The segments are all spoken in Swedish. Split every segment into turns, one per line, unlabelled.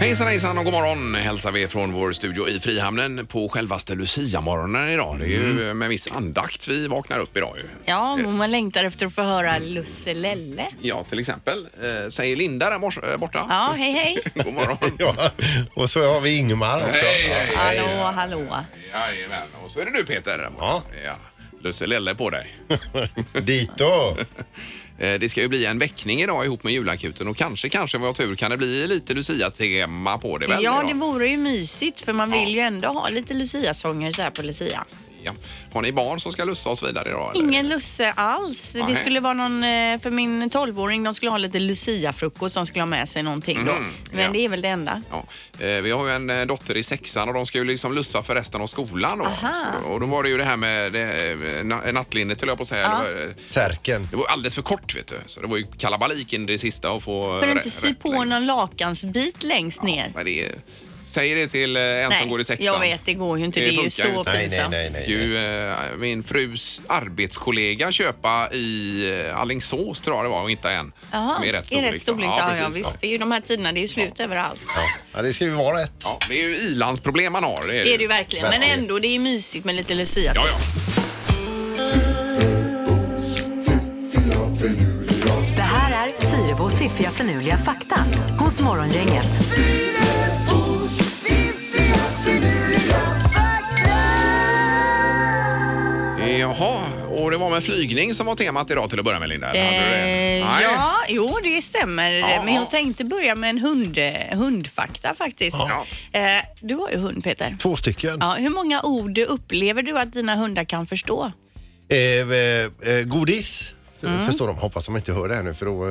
Hejsan hejsan och god morgon hälsar vi från vår studio i Frihamnen på självaste Lucia-morgonen idag. Det är ju med viss andakt vi vaknar upp idag ju.
Ja, men man längtar efter att få höra Lusselelle.
Ja, till exempel. Eh, säger Linda där mors- eh, borta.
Ja, hej hej.
God morgon.
Ja, och så har vi Ingmar också.
Hej, hej.
Hallå, hallå.
Jajamän. Och så är det du Peter där borta.
Ja.
ja. Lusse-Lelle på dig.
Dito.
Eh, Det ska ju bli en väckning idag ihop med julakuten och kanske, kanske om vi har tur kan det bli lite Lucia-tema på det väl?
Ja,
idag?
det vore ju mysigt för man vill ju ändå ha lite Lucia-sånger så här på Lucia.
ja. Har ni barn som ska lussa och så vidare idag? eller?
Ingen Lusse alls.
Nej.
Det skulle vara någon, eh, för min tolvåring, de skulle ha lite Lucia-frukost. De skulle ha med sig någonting då.
Mhm,
Men
ja.
det är väl det enda.
Ja, eh, vi har ju en eh, dotter i sexan och de ska ju liksom lussa för resten av skolan. Då.
Aha.
Så, och då var det ju det här med det, eh, na, nattlinnet höll jag på att säga. Det, var, eh,
Särken.
det var alldeles för kort vet du. Så det var ju kalabalik in i det sista att få
För
rä-
att inte sy
rätt
på
längd.
någon lakansbit längst ner.
Men det, säg det till eh, en som går i sexan.
jag vet, det går ju inte.
Det
Det, är ju
funkar ju
så
inte.
Nej, nej,
pinsamt.
nej. nej.
ju eh, min frus arbetskollega köpa i eh, Alingsås tror jag det var och inte än.
Jaha,
Med
i rätt storlek. Ja, ja,
precis.
visst. Det är ju de här tiderna, det är ju slut överallt.
Ja. Ja, det ska ju vara rätt.
Ja, det är ju ilandsproblem man har.
Det är det ju verkligen. Men ändå, det är mysigt med lite Lucia.
Ja, ja.
Det här är Fyrabos fiffiga förnuliga fakta hos Morgongänget.
Jaha, och det var med flygning som var temat idag till att börja med Linda? eller hade du det?
Eh,
Nej.
ja, jo det stämmer.
Ja.
Men jag tänkte börja med en hund, eh, hundfakta faktiskt.
Ja.
Eh, du har ju hund Peter.
Två stycken.
Ja, hur många ord upplever du att dina hundar kan förstå?
Eh, eh, eh, godis. Förstår de? Hoppas de inte hör det här nu för då eh,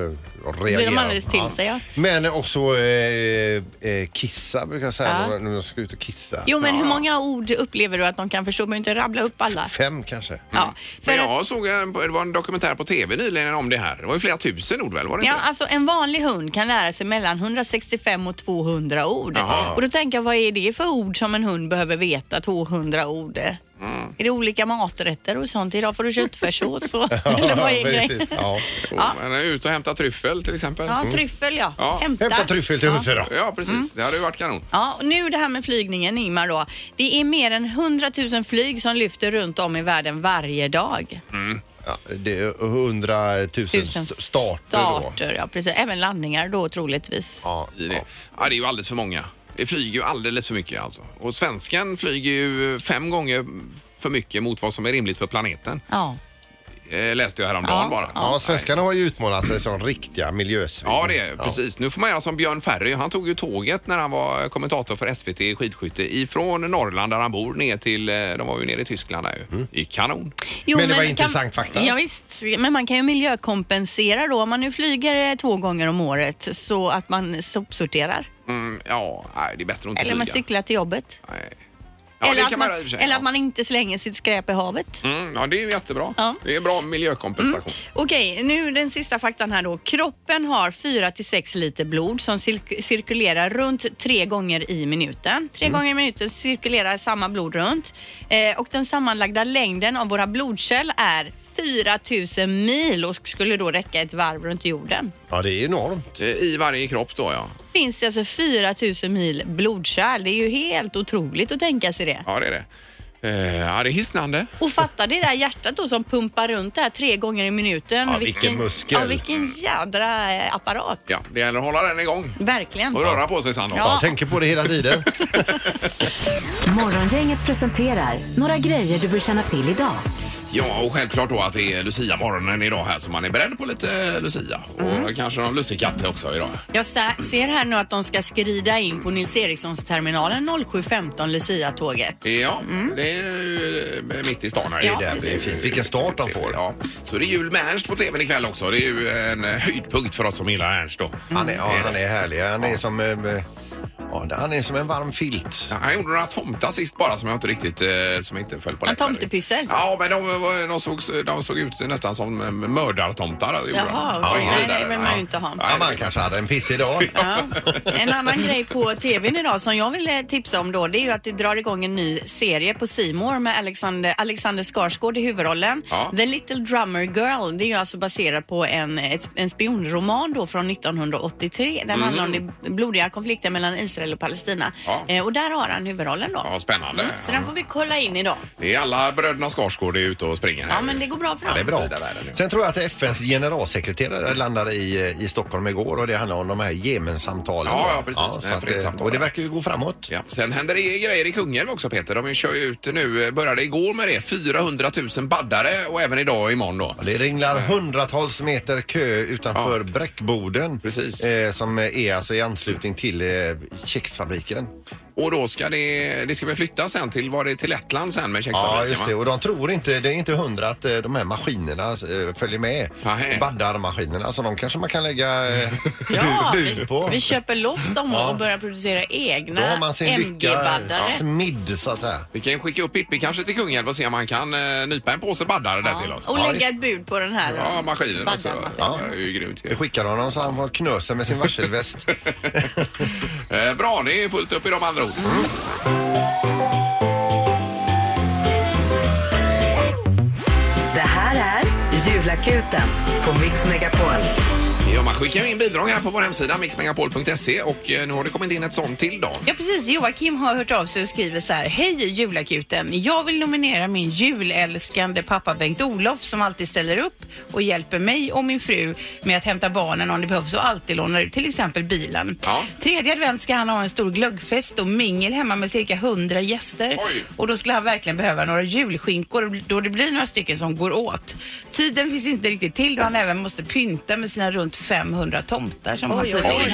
reagerar
Mm. alldeles till sig, ja.
Men också eh, eh, kissa brukar jag säga
Ja.
när de- när de ska ut och kissa.
Jo men
Ja.
hur många ord upplever du att de kan förstå? Du behöver inte rabbla upp alla.
Fem kanske.
Ja, för
Men
att,
jag såg en, det var en dokumentär på tv nyligen om det här. Det var ju flera tusen ord väl? Var det
ja,
inte?
alltså en vanlig hund kan lära sig mellan 165 och 200 ord.
Jaha.
Och då tänker jag, vad är det för ord som en hund behöver veta? 200 ord.
Mm.
Är det olika maträtter och sånt? Idag får du köttfärssås och... Eller vad är grejen?
precis. Ja.
det? Men ut och hämta tryffel till exempel.
Ja, Mm.
Mm.
tryffel ja.
Ja.
Hämta.
Hämta tryffel till huset då.
Ja, precis. Det hade ju varit kanon.
Ja, och nu det här med flygningen Ingmar då. Det är mer än 100 000 flyg som lyfter runt om i världen varje dag.
Ja, det är hundratusen
Tusen
Mm. st- starter då.
starter, ja precis. Även landningar då troligtvis.
Ja,
I det. Ja, det är ju alldeles för många. Det flyger ju alldeles för mycket alltså. Och svensken flyger ju fem gånger för mycket mot vad som är rimligt för planeten.
Ja.
Eh, läste jag häromdagen
Ja,
bara.
Ja, svenskarna har ju utmålat sig som riktiga miljösvin.
Ja, det är precis. Nu får man göra som Björn Ferry. Han tog ju tåget när han var kommentator för SVT i skidskytte ifrån Norrland där han bor ner till, eh, de var ju nere i Tyskland där ju. I kanon.
Jo,
Men det var
kan-
intressant fakta.
Ja, visst, men man kan ju miljökompensera då. Om man nu flyger eh, två gånger om året så att man sopsorterar.
Mm, ja, nej, det är bättre att inte
Eller man
flyga.
cyklar till jobbet.
Nej. Oh, Ja, det
eller att
kan
man,
göra i och för sig,
eller
ja.
att man inte slänger sitt skräp i havet.
Mm, ja, det är ju jättebra.
Ja.
Det är bra miljökompensation.
Okej, nu den sista faktan här då. Kroppen har 4 till 6 liter blod som cirk- cirkulerar runt tre gånger i minuten. Tre
Mm.
gånger i minuten cirkulerar samma blod runt eh, och den sammanlagda längden av våra blodkärl är 4000 mil och skulle då räcka ett varv runt jorden.
Ja, det är enormt.
Mm.
Eh, I varje kropp då, ja.
Finns det alltså 4000 mil blodkärl? Det är ju helt otroligt att tänka sig det.
Ja, det är det. Eh, ja, det är hisnande.
Och fatta det där hjärtat då som pumpar runt det här tre gånger i minuten.
Ja, vilken muskel.
Ja, vilken jädra eh, apparat.
Ja, det gäller att hålla den igång
Verkligen.
och röra på sig sen då.
Ja.
Jag tänker på det hela tiden.
Morgongänget presenterar några grejer du bör känna till idag.
Ja, och självklart då att det är Lucia-morgonen idag här så man är beredd på lite eh, Lucia.
Mm.
Och kanske någon lussekatt också idag.
Jag sa- ser här nu att de ska skrida in på Nils Erikssons terminalen 07.15 Lucia-tåget.
Ja, det är ju eh, mitt i stan här.
Mm. Ja,
Det är där
Det är fint. Vilken start de får.
Ja. Så det är jul med Ernst på tvn ikväll också. Det är ju en eh, höjdpunkt för oss som gillar Ernst
Mm.
då. Eh,
Han är, ja, han är härlig. Han är som... eh, Ja, han är som en varm filt.
Ja, Han gjorde några tomtar sist bara som jag inte riktigt eh, som inte föll på
En
läppen.
tomtepyssel?
Ja, men de, var- de, såg, de såg ut nästan som eh, mördartomtar. gjorde de.
Jaha,
Det var
okej.
ingen
Nej,
vidare.
det vill man ju inte ha.
Nej,
Ja,
det-
man kanske hade en pissig dag.
Ja. En annan grej på tvn idag som jag ville tipsa om då det är ju att det drar igång en ny serie på Simor med Alexander, Alexander Skarsgård i huvudrollen.
Ja.
The Little Drummer Girl, det är ju alltså baserat på en, ett, en spionroman då från 1983. Den handlar om den blodiga konflikten mellan Is Israel och Palestina.
Mhm. Ja.
Eh, och där har han huvudrollen då. Mm,
Ja, spännande.
Så den får vi kolla in idag.
Det är alla bröderna Skarsgård är ute och springer här.
Ja, men det går bra för
Ja,
dem.
det är bra.
Bra. Sen tror jag att FNs generalsekreterare landade i, eh, i Stockholm igår och det handlar om de här Jemen-samtalen.
Ja, ja, precis.
så
Eh,
att,
fredssamtal.
eh, och det verkar ju gå framåt.
Ja, sen händer det grejer i Kungälv också Peter. De kör ju ut nu, eh, började igår med det, 400 000 baddare och även idag och imorgon då.
Ja, Det ringlar hundratals meter kö utanför Bräckboden.
Precis.
Eh, som är alltså i anslutning till eh, kexfabriken.
Och då ska det, det ska väl flyttas sen till, var det till Lettland sen med
Ja,
kexfabriken
just det.
va?
Och de tror inte, det är inte hundra att eh, de här maskinerna eh, följer med.
Nej.
Baddarmaskinerna. Så de kanske man kan lägga eh,
Ja,
bu-
vi,
bud på.
vi köper loss dem
Ja.
och börjar producera
Då har
egna
man sin lycka
MG-baddare.
smidd så att säga.
Vi kan skicka upp Pippi kanske till Kungälv och se om han kan eh, nypa en påse baddare där till oss.
Och lägga ett bud på den här.
Ja, maskinen också. då.
baddarna.
Ja, det är ju grymt ju.
Vi skickar honom så han får knösen med sin varselväst.
Eh, Bra, det är fullt upp i de andra orden.
Det här är Julakuten på Mix Megapol.
Ja, man skickar ju in bidrag här på vår hemsida mixmegapol.se och eh, nu har det kommit in ett sånt till då.
Ja precis, Joakim har hört av sig och skriver så här. Hej julakuten! Jag vill nominera min julälskande pappa Bengt-Olof som alltid ställer upp och hjälper mig och min fru med att hämta barnen om det behövs och alltid lånar ut till exempel bilen.
Ja.
Tredje advent ska han ha en stor glöggfest och mingel hemma med cirka 100 gäster.
Oj.
Och då skulle han verkligen behöva några julskinkor då det blir några stycken som går åt. Tiden finns inte riktigt till då han även måste pynta med sina runt 500 tomtar som han
Oj, oj,
tydligen
oj,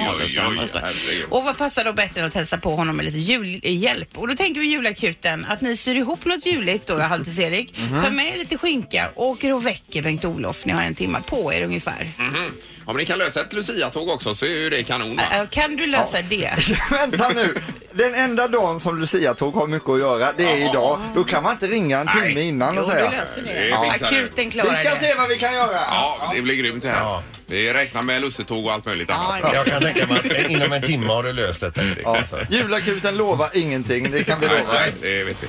har.
oj, oj, herregud.
Och vad passar då bättre än att hälsa på honom med lite julhjälp? Och då tänker vi julakuten att ni syr ihop något juligt då, Halvtids-Erik.
Mhm.
Tar med er lite skinka och åker och väcker Bengt-Olof. Ni har en timme på er ungefär.
Mhm. Om ni kan lösa ett Lucia-tåg också så är ju det kanon. Va?
Äh, Kan du lösa det?
Vänta nu! Den enda dagen som Lucia-tåg har mycket att göra, det är idag. Då kan man inte ringa en timme innan
Jo,
och
du
säga
löser det.
Det fixar du.
Akuten
Vi
klarar
ska
det.
se vad vi kan göra!
Ja, det blir grymt det här.
Ja.
Vi räknar med lussetåg och allt möjligt annat.
Ja,
Jag kan tänka mig att inom en timme har du löst detta.
Ja.
Ja.
Julakuten lovar ingenting, det kan vi
Nej,
lova.
nej, det vet vi.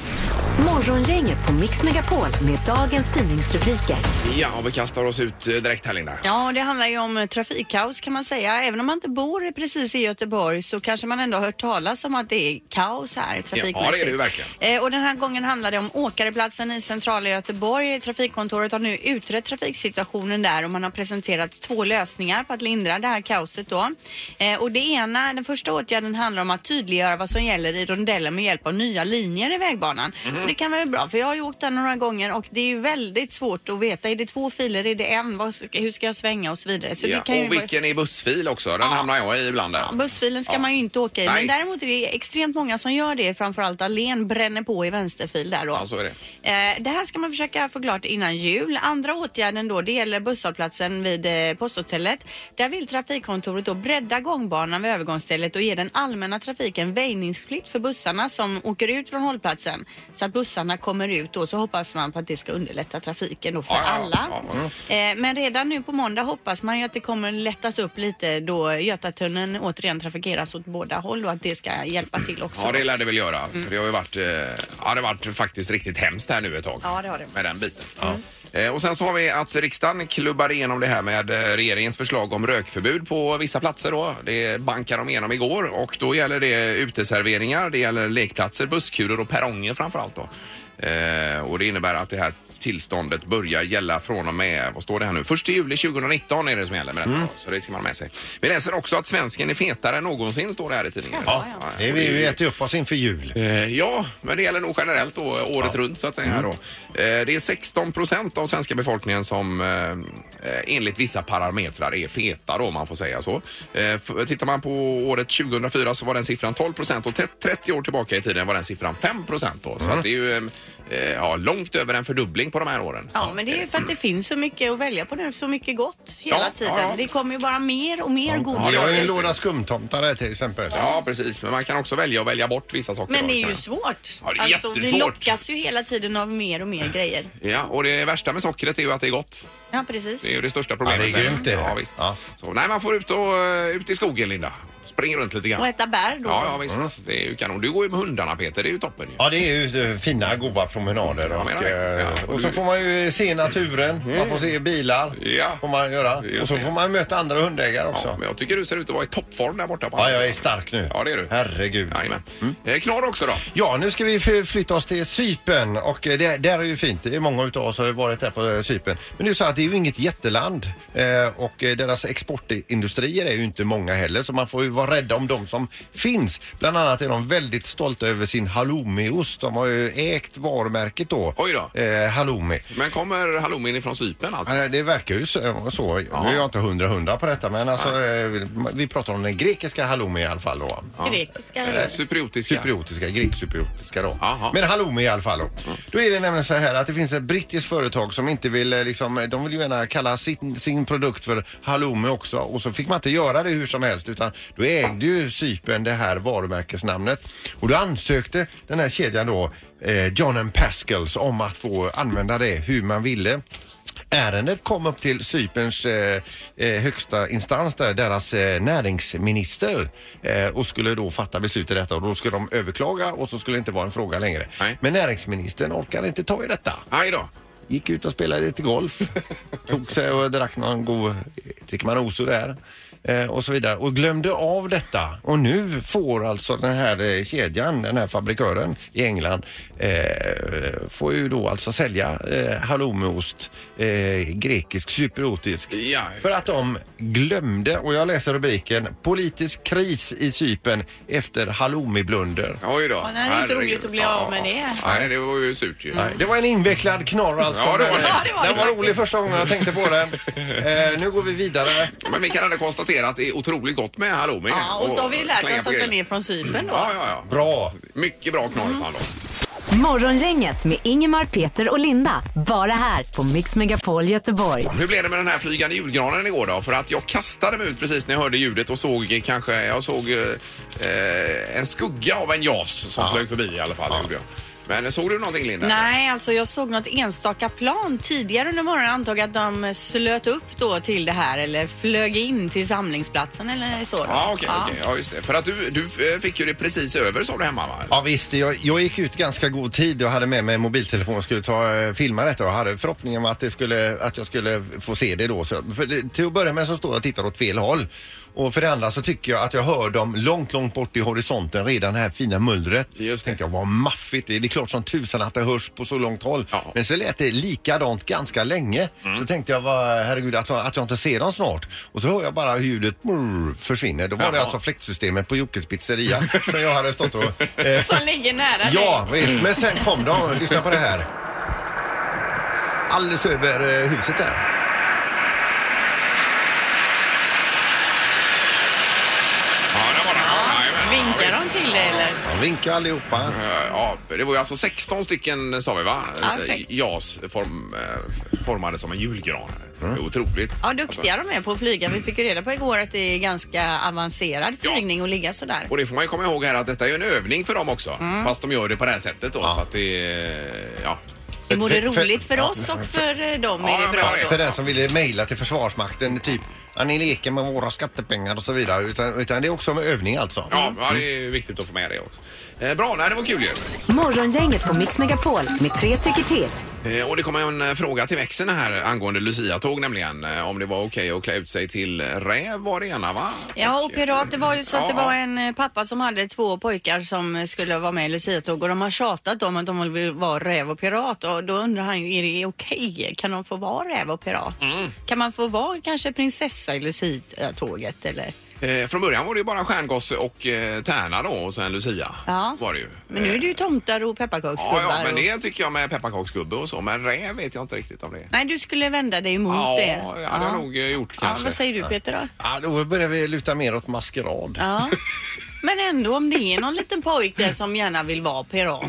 Morgongänget på Mix Megapol med dagens tidningsrubriker.
Ja, och vi kastar oss ut eh, direkt här Linda.
Ja, det handlar ju om eh, trafikkaos kan man säga. Även om man inte bor precis i Göteborg så kanske man ändå har hört talas om att det är kaos här trafikmässigt.
Ja, det är det ju verkligen.
Eh, och den här gången handlar det om Åkareplatsen i centrala Göteborg. Trafikkontoret har nu utrett trafiksituationen där och man har presenterat två lösningar på att lindra det här kaoset då. Eh, och det ena, den första åtgärden handlar om att tydliggöra vad som gäller i rondellen med hjälp av nya linjer i vägbanan.
Mhm.
Och det kan vara bra för jag har ju åkt den några gånger och det är ju väldigt svårt att veta. Är det två filer? Är det en? Vad, ska- hur ska jag svänga och så vidare. Så
Ja,
det kan ju
och
vara...
vilken är bussfil också? Den hamnar jag i ibland. Där.
Bussfilen ska
Ja.
man ju inte åka i,
Nej.
men däremot är det extremt många som gör det. Framförallt Alen bränner på i vänsterfil där då.
Ja, så är det.
Eh, Det här ska man försöka få klart innan jul. Andra åtgärden då, det gäller busshållplatsen vid eh, posthotellet. Där vill trafikkontoret då bredda gångbanan vid övergångsstället och ge den allmänna trafiken väjningsplikt för bussarna som åker ut från hållplatsen. Så att bussarna kommer ut då, så hoppas man på att det ska underlätta trafiken då för
Ja, ja,
alla.
ja, ja.
Eh, Men redan nu på måndag hoppas man ju att det kommer lättas upp lite då Götatunneln återigen trafikeras åt båda håll och att det ska hjälpa till också.
Ja, det lär det väl göra. För det har ju varit, eh, ja, det har varit faktiskt riktigt hemskt här nu ett tag.
Ja, det har det. Mm.
Med den biten. Eh, Och sen så har vi att riksdagen klubbar igenom det här med eh, regeringens förslag om rökförbud på vissa platser då. Det bankade de igenom igår och då gäller det uteserveringar, det gäller lekplatser, busskurer och perronger framför allt då. Eh, Och det innebär att det här tillståndet börjar gälla från och med, vad står det här nu, 1 juli 2019 är det som gäller med detta.
Mm.
då. Så det ska man ha med sig. Vi läser också att svensken är fetare än någonsin, står det här i tidningen.
Ja, det vi ju äter upp oss inför jul.
Eh, Ja, men det gäller nog generellt då, eh, året runt så att säga. Då. Eh, Det är 16 procent av svenska befolkningen som eh, eh, enligt vissa parametrar är feta då, om man får säga så. Eh, f- Tittar man på året 2004 så var den siffran 12 procent och te- 30 år tillbaka i tiden var den siffran 5 procent då. Så att det är ju eh, eh, ja, långt över en fördubbling på de här åren.
Ja, men det är ju för att det finns så mycket att välja på nu, så mycket gott hela
Ja,
tiden.
ja, ja.
Det kommer ju bara mer och mer godsaker.
det
Jag har ju en
just det.
låda skumtomtar här till exempel.
Ja, precis. Men man kan också välja att välja bort vissa saker.
Men
då, liksom.
det är
kan
ju
jag-
svårt.
Ja, det är
alltså, vi
jättesvårt.
lockas ju hela tiden av mer och mer grejer.
Ja, och det värsta med sockret är ju att det är gott.
Ja, precis.
Det är ju det största problemet.
Ja, det är grymt, det är det.
Ja, visst.
Ja.
Så, nej, man får ut, och, eh, ut i skogen, Linda. Spring runt lite grann.
Och äta bär då.
Ja, ja visst.
Mm.
Det är ju kanon. Du går ju med hundarna, Peter. Det är ju toppen ju.
Ja, det är ju eh, fina, goda promenader
Jag
och,
menar det.
eh,
Ja, Mm.
och Och så får man ju se naturen, man får se bilar.
Ja.
Får man göra.
Just
Och så
det.
får man möta andra hundägare också.
Ja,
Ja,
men jag tycker du ser ut att vara i toppform där borta. På
jag är stark nu.
Ja, det är du.
Herregud.
Jajamän.
Mm.
Eh, Knorr också då.
Ja, nu ska vi förflytta oss till Cypern och eh, det, där är ju fint. Det är många utav oss har ju varit där på eh, Cypern. Men det är ju så att det är ju inget jätteland eh, och eh, deras exportindustrier är ju inte många heller så man får ju vara rädda om de som finns. Bland annat är de väldigt stolta över sin halloumiost. De har ju ägt varumärket då.
Oj då.
Eh, halloumi.
Men kommer halloumin ifrån Cypern alltså?
Ja, Det verkar ju så. så. Nu är jag inte hundra hundra på detta men alltså, eh, vi pratar om den grekiska halloumi i alla fall då.
Grekiska.
Eh, Cypriotiska.
Cypriotiska, grekcypriotiska då.
Jaha.
Men halloumi i alla fall. Då. då är det nämligen så här att det finns ett brittiskt företag som inte vill eh, liksom, eh, de vill ju gärna kalla sin, sin produkt för halloumi också och så fick man inte göra det hur som helst utan då ägde ju Cypern det här varumärkesnamnet och då ansökte den här kedjan då eh, John and Pascals om att få använda det hur man ville. Ärendet kom upp till Cyperns eh, eh, högsta instans där, deras eh, näringsminister eh, och skulle då fatta beslut i detta och då skulle de överklaga och så skulle det inte vara en fråga längre.
Nej.
Men näringsministern orkade inte ta i detta.
Aj då.
Gick ut och spelade lite golf. Tog sig och drack någon god, dricker man oso där. eh, Och så vidare och glömde av detta och nu får alltså den här eh, kedjan, den här fabrikören i England eh, får ju då alltså sälja eh, halloumiost, eh, grekisk, cypriotisk
Ja.
för att de glömde och jag läser rubriken politisk kris i Cypern efter halloumiblunder.
Oj då.
Ja, det är inte
Herregud.
roligt att bli
Ja,
av med
ja, ja.
det.
Nej, det var ju surt ju.
Nej, Det var en invecklad knorr alltså.
Ja, det var det.
Men,
Ja,
det var det
den var rolig första gången jag tänkte på den. Eh, nu går vi vidare.
Men vi kan ändå konstatera att det är otroligt gott med halloumi.
Ja, och så har vi ju lärt
slänga
oss
på
att
grillen.
den är Mm. från Cypern då.
Ja, ja, ja.
Bra.
Mycket bra knorr i fall då.
Morgongänget med Ingemar, Peter och Linda. Bara här på Mix Megapol Göteborg.
Hur blev det med den här flygande julgranen igår då? För att jag kastade mig ut precis när jag hörde ljudet och såg kanske, jag såg eh, en skugga av en JAS som flög förbi i alla fall. gjorde jag. Men såg du någonting Linda?
Nej, alltså jag såg något enstaka plan tidigare under morgonen. Jag Antog att de slöt upp då till det här eller flög in till samlingsplatsen eller så. då.
Ja, okej, okej. Ja, just det. För att du, du eh, fick ju det precis över sa du hemma va?
Ja visst, jag, jag gick ut ganska god tid och hade med mig mobiltelefon och skulle ta, eh, filma detta och hade förhoppningen om att, det skulle, att jag skulle få se det då. Så, för det, till att börja med så står jag och tittar åt fel håll. Och för det andra så tycker jag att jag hör dem långt, långt bort i horisonten redan det här fina mullret.
Just det.
Tänkte jag, vad maffigt det är. Det är klart som tusan att det hörs på så långt håll.
Ja. Mm.
Men så lät det likadant ganska länge. Så tänkte jag, vad, herregud, att, jag- att jag inte ser dem snart. Och så hör jag bara hur ljudet brr, försvinner. Då var det
Jaha.
alltså fläktsystemet på Jockes pizzeria som jag hade stått och eh,
Som ligger nära dig.
Ja, visst. Men sen kom de. Lyssna på det här. Alldeles över eh, huset där.
Ja, det var det. Ja, jajamän.
Vinkar de till dig eller?
De vinkar allihopa.
Eh, Ja, det var ju alltså 16 stycken sa vi va?
Ja, perfekt.
JAS form, eh, formade som en julgran. Det är otroligt.
Ja, duktiga de är på att flyga. Vi fick ju reda på igår att det är ganska avancerad
Ja.
flygning att ligga sådär.
Och det får man ju komma ihåg här att detta är ju en övning för dem också. Fast de gör det på det här sättet då. Så att det, eh, ja.
Det är både
För- för-
roligt för oss och för eh, dem
Ja,
är
jag
det bra
menar det.
då.
För den som ville mejla till Försvarsmakten, typ ja, ni leker med våra skattepengar och så vidare. Utan, utan det är också en övning alltså.
Ja, ja, det är viktigt att få med det också. Eh, bra, nej, det var kul ju.
Morgongänget på Mix Megapol med tre tycker till.
Eh, och det kommer en eh, fråga till växeln här angående Lucia-tåg nämligen. Eh, om det var okej att klä ut sig till räv var det ena va?
Ja, och pirat, det var ju så att det
Ja,
var
ja.
en eh, pappa som hade två pojkar som eh, skulle vara med i luciatåg och de har tjatat om att de vill vara räv och pirat och då undrar han ju, är det okej? Kan de få vara räv och pirat?
Mm.
Kan man få vara kanske prinsessa i luciatåget eller?
Eh, från början var det ju bara stjärngosse och eh, tärna då och sen Lucia.
Ja.
Var det ju. Eh,
Men nu är det ju tomtar och pepparkaksgubbar.
Ja, ja, men
och...
det tycker jag med pepparkaksgubbe och så. Men räv vet jag inte riktigt om det är.
Nej, du skulle vända dig emot
Ja,
det.
jag hade jag nog eh, gjort
ja,
kanske.
vad säger du Peter då?
Ja, då börjar vi luta mer åt maskerad.
Ja. Men ändå om det är någon liten pojk där som gärna vill vara pirat.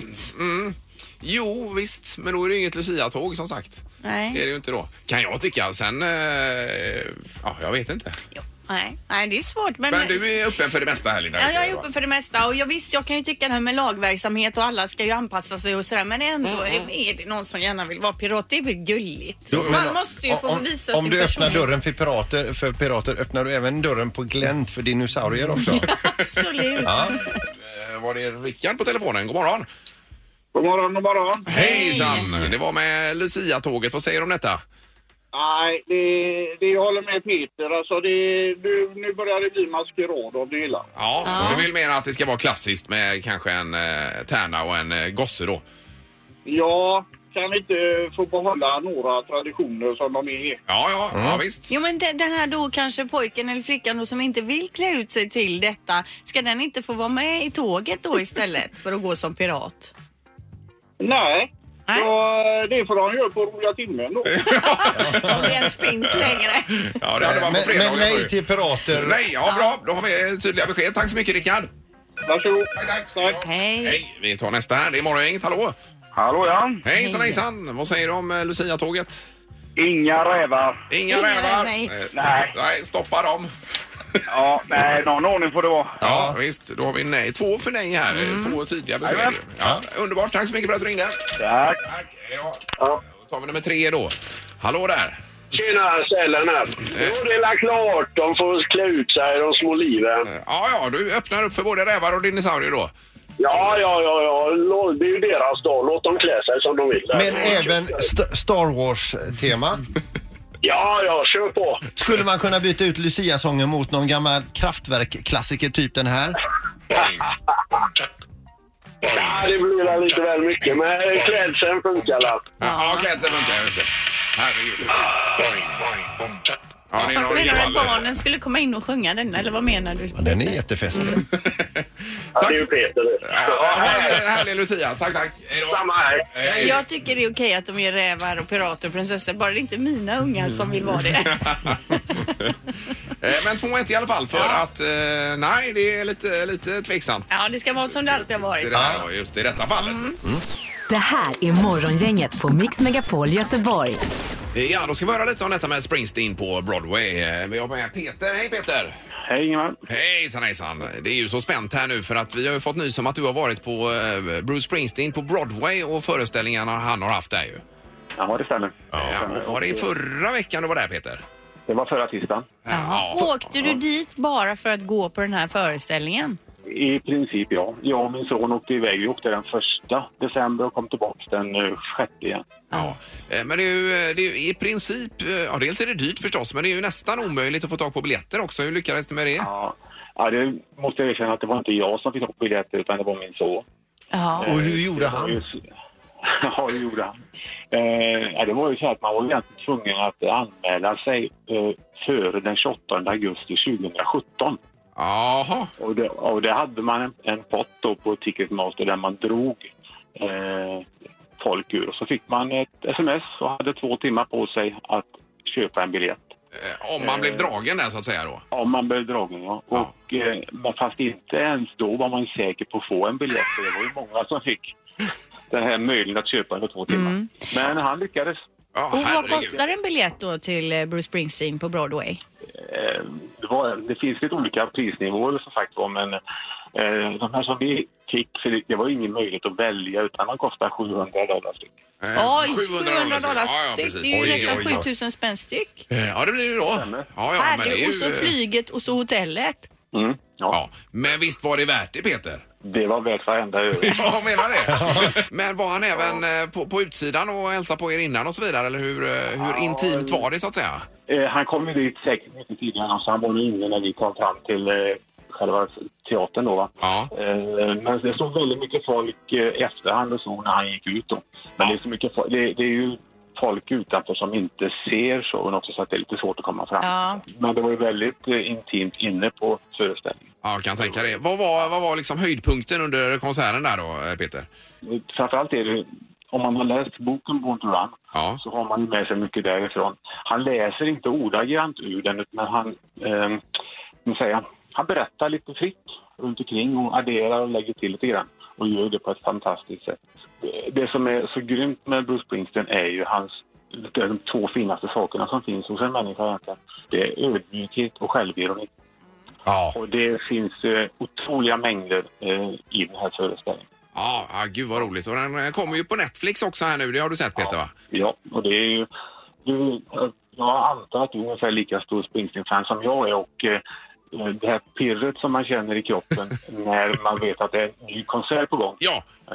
Jo, visst, men då är det ju inget Lucia-tåg som sagt.
Nej.
Det är det ju inte då. Kan jag tycka. Sen, eh, ja, jag vet inte.
Jo. Nej. Nej, det är svårt.
Men du är öppen för det mesta här Linda.
Ja, jag är öppen för det mesta och jag, visst jag kan ju tycka det här med lagverksamhet och alla ska ju anpassa sig och sådär men ändå
Mm,
är det någon som gärna vill vara pirat, det är väl gulligt?
Jo, men
Man måste ju få
om,
visa
Om
sin
du öppnar
personlighet.
dörren för pirater, för pirater öppnar du även dörren på glänt för dinosaurier också.
Absolut.
Eh, Var det Rickard på telefonen? God morgon.
God morgon, god morgon.
Hejsan! Det var med Lucia-tåget. Vad säger du om detta?
Nej, det, det håller med Peter. Alltså det, nu, nu börjar det bli maskerad om du gillar.
Ja, du vill mena att det ska vara klassiskt med kanske en eh, tärna och en eh, gosse då?
Ja, kan vi inte få behålla några traditioner som de är?
Ja, ja, ja visst.
Jo men de- den här då kanske pojken eller flickan då som inte vill klä ut sig till detta, ska den inte få vara med i tåget då istället för att gå som pirat?
Nej.
Nej.
Så, eh, det får de göra på roliga timmen då.
Om det ens finns längre.
Ja, det hade varit på
Men,
fredagar.
men
var
nej
det.
till pirater.
Nej, ja bra. Då har vi tydliga besked. Tack så mycket Rickard.
Varsågod.
Tack,
tack.
Hej.
Hej, vi tar nästa här. Det är morgongänget. Hallå!
Hallå ja.
Hejsan hejsan! Vad säger du om eh, Lucia-tåget?
Inga rävar.
Inga
Inga
rävar!
nej.
Eh,
Nej.
Nej, stoppa dem!
Ja, nej, någon ordning får det vara.
Ja, Mm. visst. Då har vi nej. Två för nej här. Två tydliga besked.
Jajamän.
Ja, underbart. Tack så mycket för att du ringde.
Tack.
Tack. Hej då.
Ja.
Då tar vi nummer tre då. Hallå där!
Tjena, Sällan här. Jo, det är la klart. De får klä ut sig, de små liven.
Ja, ja, du öppnar upp för både rävar och dinosaurier då.
Ja, ja, ja, ja. Lå- Det är ju deras dag. Låt dem klä sig som de vill.
Men även st- Star Wars-tema.
Ja, ja, kör på.
Skulle man kunna byta ut Lucia-sången mot någon gammal Kraftwerk-klassiker, typ den här?
Ja, det blir väl lite väl mycket, men eh, klädseln funkar la.
Ja, ja klädseln funkar. Just det. Herregud. Ja, det är någon
Menar du att
ringhållare.
barnen skulle komma in och sjunga den eller vad menar du?
Den är jättefestlig.
Ja,
Tack.
det är ju Peter det.
Ja, ha en härlig Lucia. Tack, tack. Hej då.
Samma här.
Hej.
Jag tycker det är okej att de är rävar och pirater och prinsessor, bara det inte är mina ungar som vill vara det.
Eh, Men två inte i alla fall för att eh, nej, det är lite, lite tveksamt.
Ja, det ska vara som det alltid har
Det
varit.
där, ja, Just i detta fallet.
Det här är Morgongänget på Mix Megapol Göteborg.
Eh, Ja, då ska vi höra lite om detta med Springsteen på Broadway. Eh, Vi har med Peter. Hej Peter!
Hej Ingemar.
Hejsan hejsan! Det är ju så spänt här nu för att vi har ju fått nys om att du har varit på eh, Bruce Springsteen på Broadway och föreställningarna han har haft där ju.
Ja, det stämmer.
Ja, och var det förra veckan du var där Peter?
Det var förra tisdagen.
Ja. Åkte du dit bara för att gå på den här föreställningen?
I princip ja. Jag och min son åkte iväg. Vi åkte den första december och kom tillbaka den eh, sjätte igen.
Ja. Eh, Men det är, ju, eh, det är ju i princip, eh, ja dels är det dyrt förstås, men det är ju nästan omöjligt att få tag på biljetter också. Hur lyckades du med det?
Ja. ja, det måste jag erkänna att det var inte jag som fick tag på biljetter utan det var min son.
Ja.
Och hur gjorde
Det var
han?
ju så- Ja, det gjorde han. Eh, ja, det var ju så att man var egentligen tvungen att anmäla sig eh, före den 28 augusti 2017.
Jaha,
Och det, och det hade man en, en pott då på Ticketmaster där man drog eh, folk ur. Och så fick man ett sms och hade två timmar på sig att köpa en biljett.
Eh, om man blev dragen där så att säga då.
Om man blev dragen, ja.
Ja.
Och, eh, men fast inte ens då var man säker på att få en biljett. För det var ju många som fick den här möjligheten att köpa på två timmar. Men han lyckades.
Ja,
Och vad
herregud.
kostar en biljett då till eh, Bruce Springsteen på Broadway?
Eh, det, var, det finns lite olika prisnivåer som sagt var, men eh, de här som vi fick, för det, det var ju ingen möjlighet att välja utan de kostar 700 dollar styck.
Eh,
Oj, 700 dollar,
Ja, ja,
styck.
precis.
det är ju
Oj, oj, oj.
nästan 7000 spänn styck.
Eh, Ja, det blir det ju då. Ja, ja, men det är
Herre, och
ju...
så
eh,
flyget och så hotellet.
Mm, ja.
Ja, men visst var det värt det Peter?
Det var värt varenda öre.
Ja, jag menar det. Men var han även eh, på, på utsidan och hälsade på er innan och så vidare? Eller hur, eh, hur intimt var det så att säga?
eh, han kom ju dit säkert mycket tidigare än oss. Han var nog inne när vi kom fram till eh, själva teatern då. Va?
Ja.
Eh, Men det stod väldigt mycket folk eh, efterhand och så när han gick ut. Då. Men det, är så mycket folk, det, det är ju folk utanför som inte ser showen också så att det är lite svårt att komma fram.
Ja.
Men det var ju väldigt eh, intimt inne på föreställningen.
Ja, jag kan tänka det. Vad var, vad var liksom höjdpunkten under konserten där då, eh, Peter?
Eh, Framförallt är det, om man har läst boken Born to Run
Ja.
så har man ju med sig mycket därifrån. Han läser inte ordagrant ur den men han, eh, vad säger jag? han berättar lite fritt runt omkring och adderar och lägger till lite grann och gör det på ett fantastiskt sätt. Det- Det som är så grymt med Bruce Springsteen är ju hans de två finaste sakerna som finns hos en människa egentligen. Det är ödmjukhet och självironi.
Ja.
Och det finns eh, otroliga mängder eh, i den här föreställningen.
Ja, ah, gud vad roligt. Och den eh, kommer ju på Netflix också här nu. Det har du sett Peter va?
Ja, och det är ju... Du, jag antar att du är ungefär lika stor Springsteen-fan som jag är och eh, eh, det här pirret som man känner i kroppen när man vet att det är en ny konsert på gång.
Ja,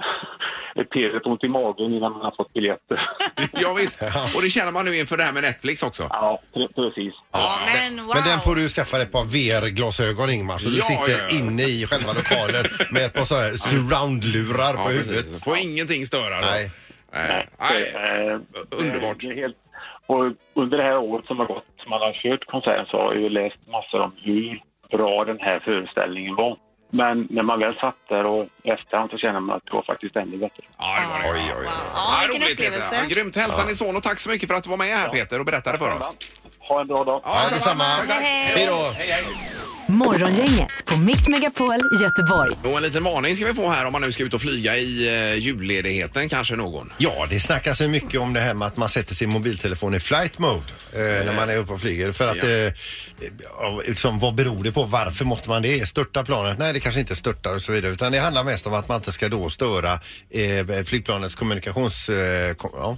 Ett pirret ont i magen innan man har fått biljetter.
ja visst. Och det känner man nu inför det här med Netflix också.
Ja, pre- precis.
Ja, men wow.
Men den får du skaffa dig ett par VR-glasögon Ingmar så du
Ja,
sitter
ja, ja.
inne i själva lokalen med ett par så här surround-lurar
Ja,
på
precis.
huvudet.
Får ingenting störa. då.
Nej.
Nej.
Nej,
Nej.
eh,
Underbart.
Det är helt, och under det här året som har gått, som man har kört konserten, så har jag ju läst massor om hur bra den här föreställningen var. Men när man väl satt där och efterhand så känner man att det var faktiskt ännu bättre.
Ja, det var det.
Oj, oj, oj.
Ja, vilken
roligt,
upplevelse.
Peter. Ja, grymt. Hälsa din son och tack så mycket för att du var med här Peter och berättade för oss.
Ha en bra dag.
Ja, detsamma.
Hej, hej.
Hej då.
Morgongänget på Mix Megapol Göteborg.
Och en liten varning ska vi få här om man nu ska ut och flyga i eh, julledigheten kanske någon.
Ja, det snackas ju mycket om det här med att man sätter sin mobiltelefon i flight mode eh, när man är uppe och flyger. För att,
Ja.
eh, ja, liksom, vad beror det på? Varför måste man det? Störta planet? Nej, det kanske inte störtar och så vidare. Utan det handlar mest om att man inte ska då störa eh, flygplanets kommunikations... Eh, kom, ja.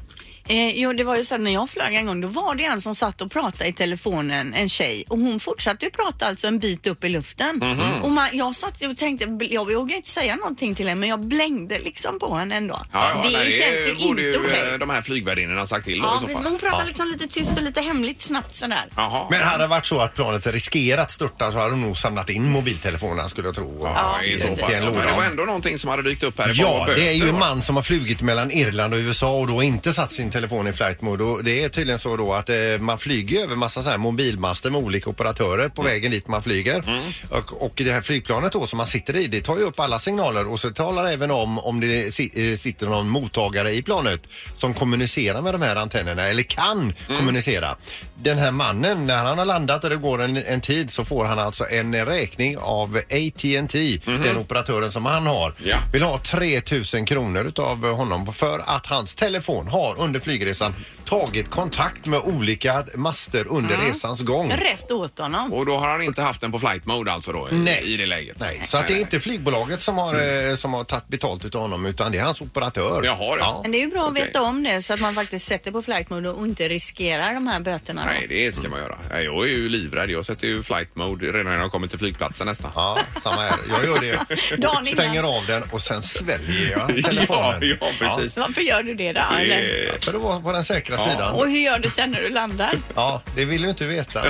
Eh, jo, det var ju så att när jag flög en gång, då var det en som satt och pratade i telefonen, en tjej. Och hon fortsatte ju prata alltså en bit upp i luften.
Mhm.
Och man, jag satt ju och tänkte, bl- jag vågade inte säga någonting till henne, men jag blängde liksom på henne ändå. det
nej,
känns ju
borde
inte
eh,
okej.
de här flygvärdinnorna sagt till
Ja,
då, i
precis,
så
men
fall.
hon pratade liksom lite tyst och lite hemligt snabbt sådär.
Jaha.
Men hade det varit så att planet riskerat störta så hade de nog samlat in mobiltelefonerna skulle jag tro.
Ja, i så
precis.
fall.
I en
Men
låda.
det var ändå någonting som hade dykt upp här i form
Ja,
av
det är ju
böter,
en
va?
man som har flugit mellan Irland och USA och då inte satt sin telefon i flight mode. Och det är tydligen så då att eh, man flyger över massa sådana här mobilmaster med olika operatörer på
Mm.
vägen dit man flyger. Och, och det här flygplanet då som man sitter i, det tar ju upp alla signaler och så talar det även om om det si, eh, sitter någon mottagare i planet som kommunicerar med de här antennerna eller kan
Mm.
kommunicera. Den här mannen, när han har landat och det går en, en tid så får han alltså en räkning av AT&T, den operatören som han har
Mhm. Ja.
vill ha 3 000 kronor utav honom för att hans telefon har under flygresan tagit kontakt med olika master under
Mm.
resans gång.
Rätt åt honom.
Och då har han inte haft den på flight mode alltså då i,
Nej.
i det läget?
Nej, så att det är inte flygbolaget som har,
Mm.
eh, som har tagit betalt utav honom utan det är hans operatör.
Jaha, ja.
Men det är ju bra
Okej.
att veta om det så att man faktiskt sätter på flight mode och inte riskerar de här böterna. då.
Nej, det ska man göra. Nej, Jag är ju livrädd. Jag sätter ju flight mode redan när jag kommer till flygplatsen nästan.
Ja, samma här. Jag gör det.
innan.
Stänger av den och sen sväljer jag
Ja,
telefonen.
ja, precis.
Varför gör du det då? Eller?
Det är-
För att vara på den säkra sidan.
Och hur gör du sen när du landar?
Ja, det vill du inte veta.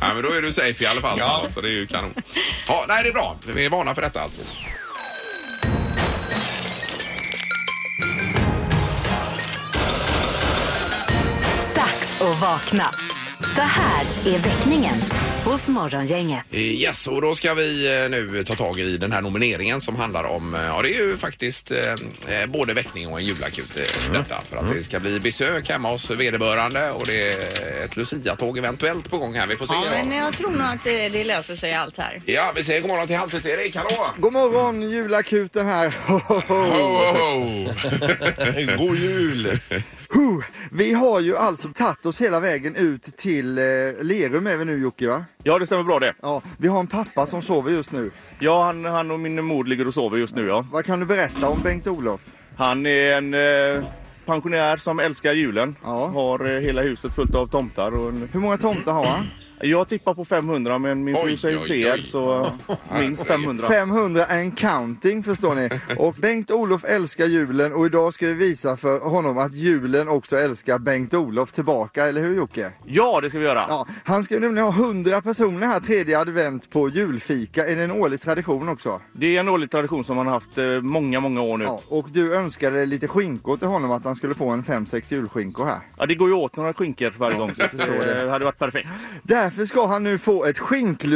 Ja, men då är du safe i alla fall.
Ja.
Så det är ju kanon. Ja, nej, det är bra. Vi är vana för detta alltså.
Dags att vakna. Det här är väckningen hos Morgongänget.
Eh, Yes, och då ska vi eh, nu ta tag i den här nomineringen som handlar om, eh, ja det är ju faktiskt eh, eh, både väckning och en julakut eh,
Mm.
detta. För att det ska bli besök hemma hos vederbörande och det är ett Lucia-tåg eventuellt på gång här. Vi får se.
Ja, men
då.
jag tror nog att det, det löser sig allt här.
Ja, vi säger god morgon till Halvtids-Erik. Hallå!
God morgon julakuten här. Ho, ho, ho.
god jul!
Huh. Vi har ju alltså tagit oss hela vägen ut till eh, Lerum är vi nu Jocke va?
Ja, det stämmer bra det.
Ja, vi har en pappa som sover just nu.
Ja, han, han och min mor ligger och sover just nu. Ja.
Vad kan du berätta om Bengt-Olof?
Han är en eh, pensionär som älskar julen.
Ja.
Har eh, hela huset fullt av tomtar. Och en...
Hur många tomtar har han?
Jag tippar på 500 men min
Oj,
fru säger
oj,
fler
oj.
så minst 500.
500 and counting förstår ni. Och Bengt-Olof älskar julen och idag ska vi visa för honom att julen också älskar Bengt-Olof tillbaka, eller hur Jocke?
Ja, det ska vi göra.
Ja, han ska ju nämligen ha 100 personer här tredje advent på julfika. Är det en årlig tradition också?
Det är en årlig tradition som han har haft eh, många, många år nu. Ja.
Ja, och du önskade lite skinkor till honom att han skulle få en 5-6 julskinkor här.
det går ju åt några skinkor varje gång så det eh, hade varit perfekt.
Därför ska han nu få ett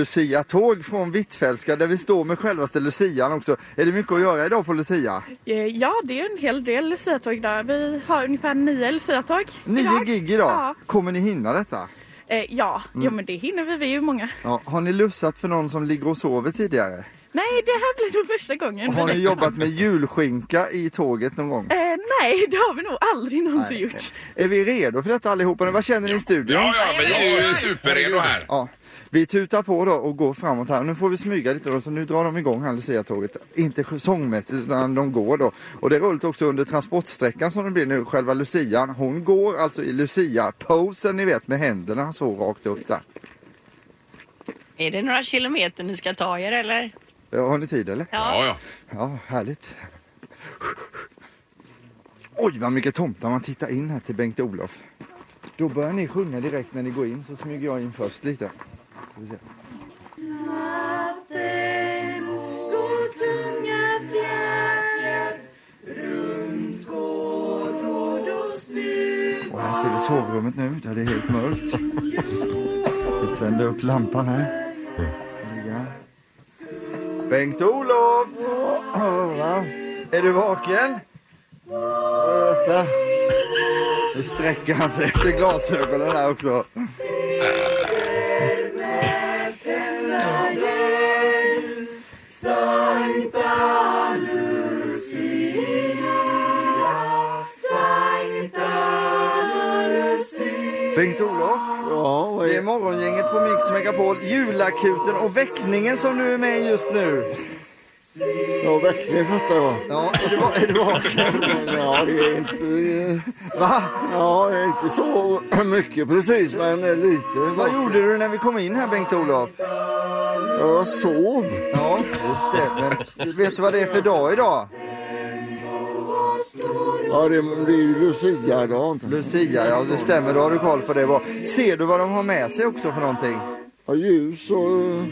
skink-Lucia-tåg från Hvitfeldtska där vi står med självaste lucian också. Är det mycket att göra idag på lucia?
Eh, Ja, det är en hel del luciatåg idag. Vi har ungefär nio luciatåg.
Nio
idag.
gig Mm. idag.
Ja,
Kommer ni hinna detta?
eh, ja. Jo, men det hinner vi. Vi är ju många.
Ja, har ni lussat för någon som ligger och sover tidigare?
Nej, det här blir nog första gången.
Har ni jobbat med julskinka i tåget någon gång?
Eh, nej, det har vi nog aldrig någonsin
Nej.
gjort.
Är vi redo för detta allihopa? nu? Vad känner ni i studion?
Ja, ja, vi är ju superredo här.
Ja, vi tutar på då och går framåt här. Nu får vi smyga lite då, så nu drar de igång här Lucia-tåget. Inte sångmässigt utan de går då. Och det är roligt också under transportsträckan som det blir nu, själva lucian. Hon går alltså i lucia-posen ni vet med händerna så rakt upp där.
Är det några kilometer ni ska ta er eller?
Ja, Har ni tid eller?
Ja, ja.
Ja, härligt. Oj, vad mycket tomtar man tittar in här till Bengt-Olof. Då börjar ni sjunga direkt när ni går in, så smyger jag in först lite. Ska vi se. Och här ser vi sovrummet nu, där det är helt mörkt. Vi tänder upp lampan här. Här ligger han. Bengt-Olof! Är du vaken? Vänta. Nu sträcker han sig efter glasögonen här också. Bengt-Olof, det är morgongänget på Mix Megapol, julakuten och väckningen som du är med i just nu.
Ja, verkligen fattar jag.
Ja, är du, va- är du vaken?
Men ja, det är inte...
Va?
Ja, det är inte så mycket precis, men lite.
Vad gjorde du när vi kom in här Bengt-Olof?
Jag sov.
Ja, just det. Men vet du vad det är för dag idag?
Ja, det, det är ju Lucia-dagen.
Lucia, ja det stämmer. Då har du koll på det. Bra. Ser du vad de har med sig också för någonting?
Ja, ljus och... eh,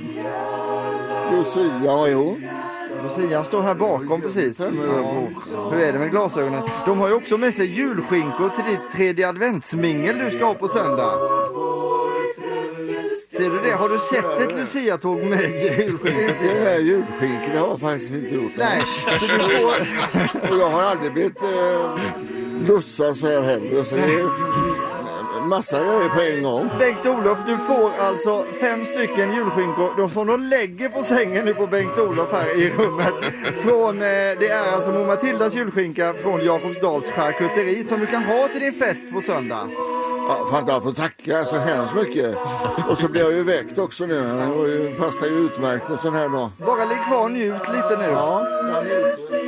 Lucia, jo.
Lucian står här bakom precis. Ja. Hur är det med glasögonen? De har ju också med sig julskinkor till ditt tredje adventsmingel du ska ha på söndag. Ser du det? Har du sett ett Luciatåg med julskinkor?
Inte den här julskinkan, det har jag faktiskt inte gjort.
Nej, så du får...
Och jag har aldrig blivit eh, lussad så här heller. Så det är en massa grejer på en gång.
Bengt-Olof, du får alltså fem stycken julskinkor de som de lägger på sängen nu på Bengt-Olof här i rummet. Från, eh, det är alltså Mor Matildas julskinka från Jakobsdals charkuteri som du kan ha till din fest på söndag.
Ja, fan, jag får tacka så hemskt mycket. Och så blir jag ju väckt också nu. Det var ju- passar ju utmärkt en sån här dag.
Bara ligg kvar och njut lite nu.
Ja, jag njuter.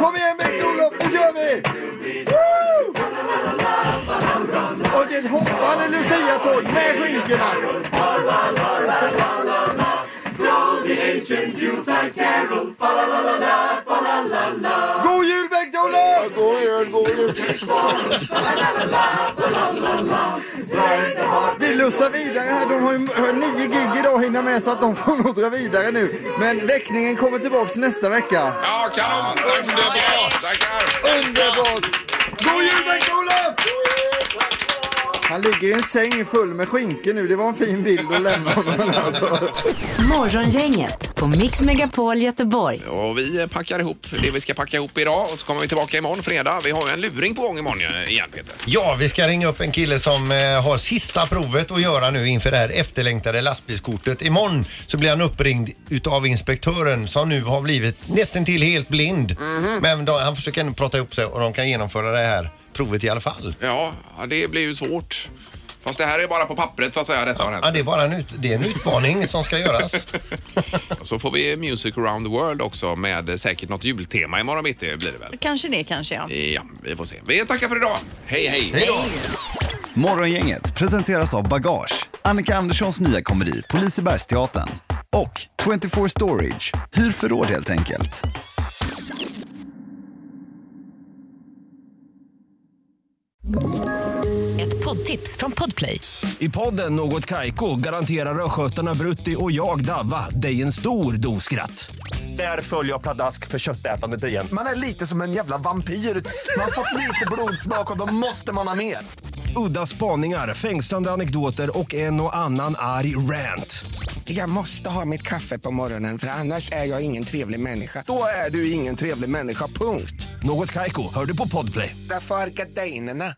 Kom igen Bengt-Olof, nu kör vi! Woo! Och det är ett hoppande luciatåg med skinkorna. God jul Bengt-Olof!
God jul, god jul.
Vi lussar vidare här. De har ju har nio gig idag att hinna med så att de får nog dra vidare nu. Men väckningen kommer tillbaks nästa vecka.
Ja, kanon! Underbart! Tackar!
Underbart! God jul Bengt-Olof! Han ligger i en säng full med skinka nu. Det var en fin bild att lämna honom. men Alltså.
Morgongänget på Mix Megapol Göteborg.
Och vi packar ihop det vi ska packa ihop idag och så kommer vi tillbaka imorgon fredag. Vi har ju en luring på gång imorgon ju- igen Peter.
Ja, vi ska ringa upp en kille som eh, har sista provet att göra nu inför det här efterlängtade lastbilskortet. Imorgon så blir han uppringd utav inspektören som nu har blivit nästan till helt blind. Men då, han försöker ändå prata ihop sig och de kan genomföra det här provet i alla fall.
Ja, ja, det blir ju svårt. Fast det här är bara på pappret så att säga detta har hänt.
Ja, det är bara en, ut, det är en utmaning som ska göras.
Så får vi Music around the world också med säkert något jultema imorgon bitti blir det väl.
Kanske det, kanske ja.
Ja, vi får se. Vi tackar för idag. Hej, hej!
Morgongänget presenteras av Bagage, Annika Anderssons nya komedi på Lisebergsteatern och 24 Storage, hyr förråd helt enkelt.
Ett poddtips från Podplay.
I podden Något Kaiko garanterar östgötarna Brutti och jag, Davva, dig en stor dos skratt. Där följer jag pladask för köttätandet igen.
Man är lite som en jävla vampyr. Man har fått lite blodsmak och då måste man ha mer.
Udda spaningar, fängslande anekdoter och en och annan arg rant.
Jag måste ha mitt kaffe på morgonen för annars är jag ingen trevlig människa. Då är du ingen trevlig människa, punkt.
Något Kaiko, hör du på Podplay.
Därför arkadeinerna.